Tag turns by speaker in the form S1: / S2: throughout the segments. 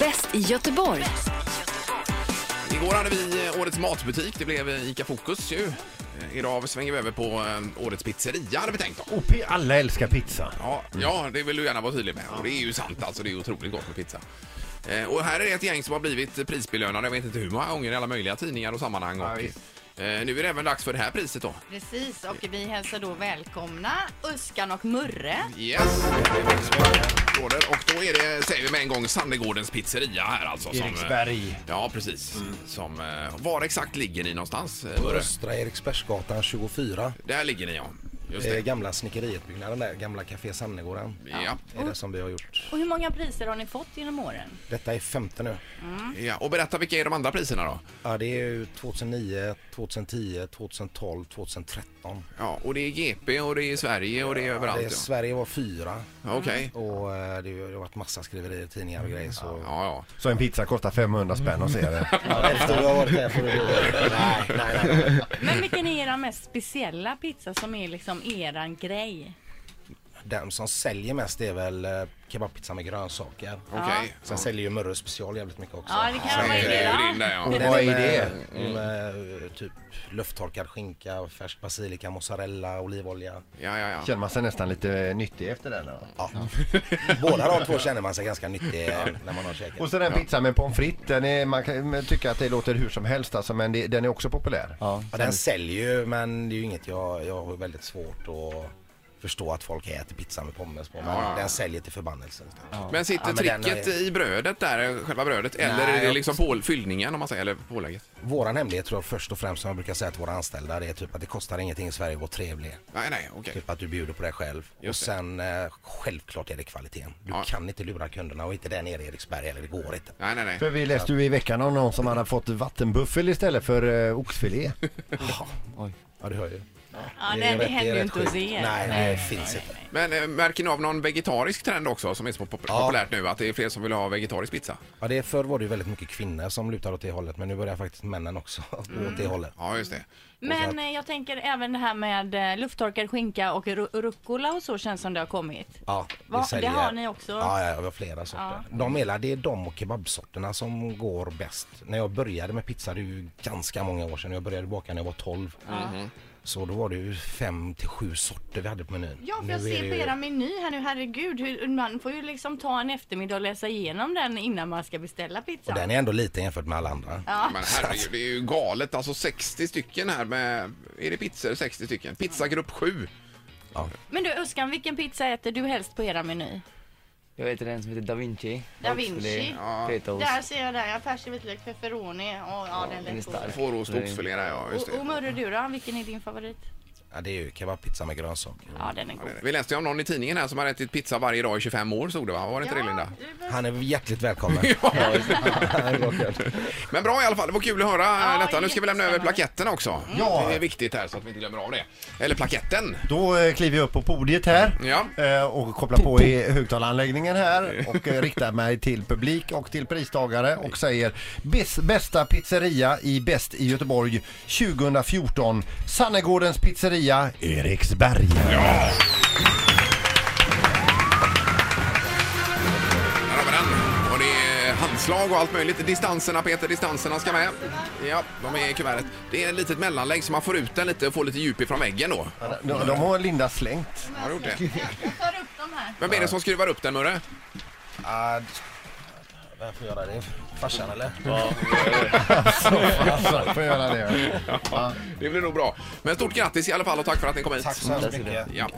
S1: Bäst i Göteborg.
S2: Igår hade vi eh, årets matbutik. Det blev eh, ICA Fokus ju. Eh, Idag svänger vi över på eh, årets pizzeria hade vi tänkt då.
S3: OP, alla älskar pizza.
S2: Ja, ja, det vill du gärna vara tydlig med. Och det är ju sant alltså. Det är otroligt gott med pizza. Eh, Och här är det ett gäng som har blivit eh, prisbelönade. Jag vet inte hur många gånger i alla möjliga tidningar och sammanhang. Och, eh, nu är det även dags för det här priset då.
S4: Precis, och vi hälsar då välkomna Öskan och Murre.
S2: Yes. Applåder. Och då är det, säger vi med en gång, Sandegårdens pizzeria här alltså. som, eh,
S3: Eriksberg.
S2: Ja, precis. Som, eh, var exakt ligger ni någonstans? eh, Murre?
S5: Östra Eriksbergsgatan 24.
S2: Där ligger ni ja. Just
S5: Eh,
S2: det.
S5: gamla snickerietbyggnaden där, gamla Café Sannegården.
S2: Ja.
S5: Är det som vi har gjort.
S4: Och hur många priser har ni fått genom åren?
S5: Detta är femte nu.
S2: ja. Och berätta vilka är de andra priserna då?
S5: Ja, det är ju 2009, 2010, 2012, 2013.
S2: Ja, och det är GP och det är Sverige och det är överallt.
S5: Det
S2: ja.
S5: är, Sverige var fyra
S2: Okej.
S5: och eh, det, är ju- det har varit massa skriverier i tidningar och
S2: Mm.
S5: grejer så...
S2: Ja, ja.
S3: Så en pizza kostar 500 spänn och ser det.
S5: Ja, Efter du har varit där får du... Nej, nej, nej.
S4: Men vilken är era mest speciella pizza som är liksom eran grej?
S5: Den som säljer mest är väl eh, kebabpizza med grönsaker.
S2: Okej.
S5: Sen säljer ju Murre special jävligt mycket också.
S4: Ja, det kan
S2: Ja.
S4: vara
S2: Det
S4: er.
S2: är ju din där, ja.
S3: Vad är
S5: det? Med, med, eh, typ lufttorkad skinka, färsk basilika, mozzarella, olivolja.
S2: Ja, ja, ja.
S3: Känner man sig nästan lite eh, nyttig efter den? eller?
S5: Ja. Båda de två känner man sig ganska nyttig eh, när man har käkat.
S3: Och sen den pizza med pommes frites. Den är, man kan tycka att det låter hur som helst alltså, men det, den är också populär.
S6: Ja,
S5: Ja, den säljer ju men det är ju inget jag, jag har väldigt svårt att förstå att folk äter pizza med pommes på. Men den säljer till förbannelse.
S2: Men sitter
S5: Ja, men den
S2: tricket
S5: är-
S2: i brödet där, eh, själva brödet, eller
S5: Nej,
S2: är det
S5: jag-
S2: liksom på, fyllningen om man säger, eller pålägget?
S5: Våran hemlighet tror jag först och främst som jag brukar säga till våra anställda det är typ att det kostar ingenting i Sverige att vara trevlig.
S2: Nej, nej, okej.
S5: Typ att du bjuder på dig själv. och
S2: Just det.
S5: sen eh, självklart är det kvaliteten. Du
S2: Ja.
S5: kan inte lura kunderna och inte där nere i Eriksberg eller det går inte.
S2: Nej, nej, nej.
S3: För vi läste ju i veckan om någon som hade fått vattenbuffel istället för eh, oxfilé.
S5: Ja du hör ju.
S4: Ja, det, det
S5: rätt-
S4: händer ju
S5: rätt
S4: inte hos
S5: sjukt.
S4: er.
S5: Nej, det finns inte.
S2: Men äh, märker ni av någon vegetarisk trend också som är så pop- populärt nu? Att det är fler som vill ha vegetarisk pizza?
S5: Ja, det, förr var det ju väldigt mycket kvinnor som lutade åt det hållet men nu börjar faktiskt männen också åt
S4: Mm.
S5: det hållet.
S2: Ja, just det.
S4: Men eh, jag tänker även det här med eh, lufttorkad skinka och ru- rucola och så känns som det har kommit.
S5: Ja,
S4: Va? Det
S5: säljer-
S4: har ni också?
S5: Ja, ja, vi har flera sorter. De hela, det är de och kebabsorterna som går bäst. När jag började med pizza, det är ju ganska många år sedan. Jag började baka när jag var 12.
S4: Mm-hmm.
S5: Så då var det ju fem till sju sorter vi hade på menyn.
S4: Ja, för
S5: Nu
S4: jag
S5: är
S4: ser
S5: det
S4: på
S5: ju-
S4: era meny här nu, herregud. Hur, man får ju liksom ta en eftermiddag och läsa igenom den innan man ska beställa pizza.
S5: Och den är ändå liten jämfört med alla andra.
S2: Men herregud, det är ju galet. Alltså 60 stycken här med... Är det pizzor? 60 stycken. Pizzagrupp 7.
S4: Men du Öskan, vilken pizza äter du helst på era meny?
S6: jag heter den som heter Da Vinci.
S4: Da Vinci.
S6: Ja. Fetaost.
S4: Där ser jag där, färs vitlök, pepperoni. och ja, den
S6: den är
S4: lät god.
S6: stark.
S2: Fårost och oxfilé där, ja. Just
S4: Och, och
S2: det.
S4: Murre, du då? Vilken är din favorit?
S5: Ja, det är ju kebabpizza med grönsaker.
S4: Ja, den är god.
S2: Vi läste ju om någon i tidningen här som hade ätit pizza varje dag i 25 år, såg du va? Var det inte det, Linda?
S5: Han är hjärtligt välkommen.
S2: Men bra i alla fall, det var kul att höra
S4: Ja,
S2: detta. Nu ska vi lämna
S4: jättespännande.
S2: över
S4: Mm.
S2: plaketterna också.
S3: Ja.
S2: Det är viktigt här så att vi inte glömmer av det. Eller plaketten.
S3: Då eh, kliver jag upp på podiet här
S2: Ja.
S3: eh, och kopplar på i högtalaranläggningen här och eh, riktar mig till publik och till pristagare och säger "Bäst- bästa pizzeria i bäst i Göteborg 2014 Sannegårdens pizzeria Eriksberg.
S2: Där har vi den. Och det är handslag och allt möjligt. Distanserna Peter, distanserna ska med. Ja, de är i kuvertet. Det är ett litet mellanlägg så man får ut den lite och får lite djup ifrån väggen då.
S3: De, de har Linda slängt.
S2: Har du gjort det?
S4: Jag tar upp dem här.
S2: Vem är det som skruvar upp den Murre?
S5: Ah, d- Vem får göra det? Farsan eller?
S3: Alltså, får jag göra det.
S2: Det blir nog bra. Men stort grattis i alla fall och tack för att ni kom hit.
S5: Tack så hemskt mycket.
S2: Ja.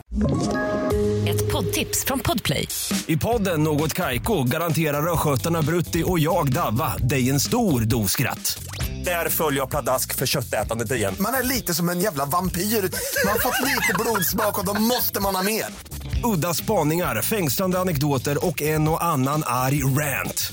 S1: Ett poddtips från Podplay.
S7: I podden Något Kaiko garanterar östgötarna Brutti och jag, Davva, dig en stor dos skratt. Där följer jag pladask för köttätandet igen.
S8: Man är lite som en jävla vampyr. Man har fått lite blodsmak och då måste man ha mer.
S7: Udda spaningar, fängslande anekdoter och en och annan arg rant.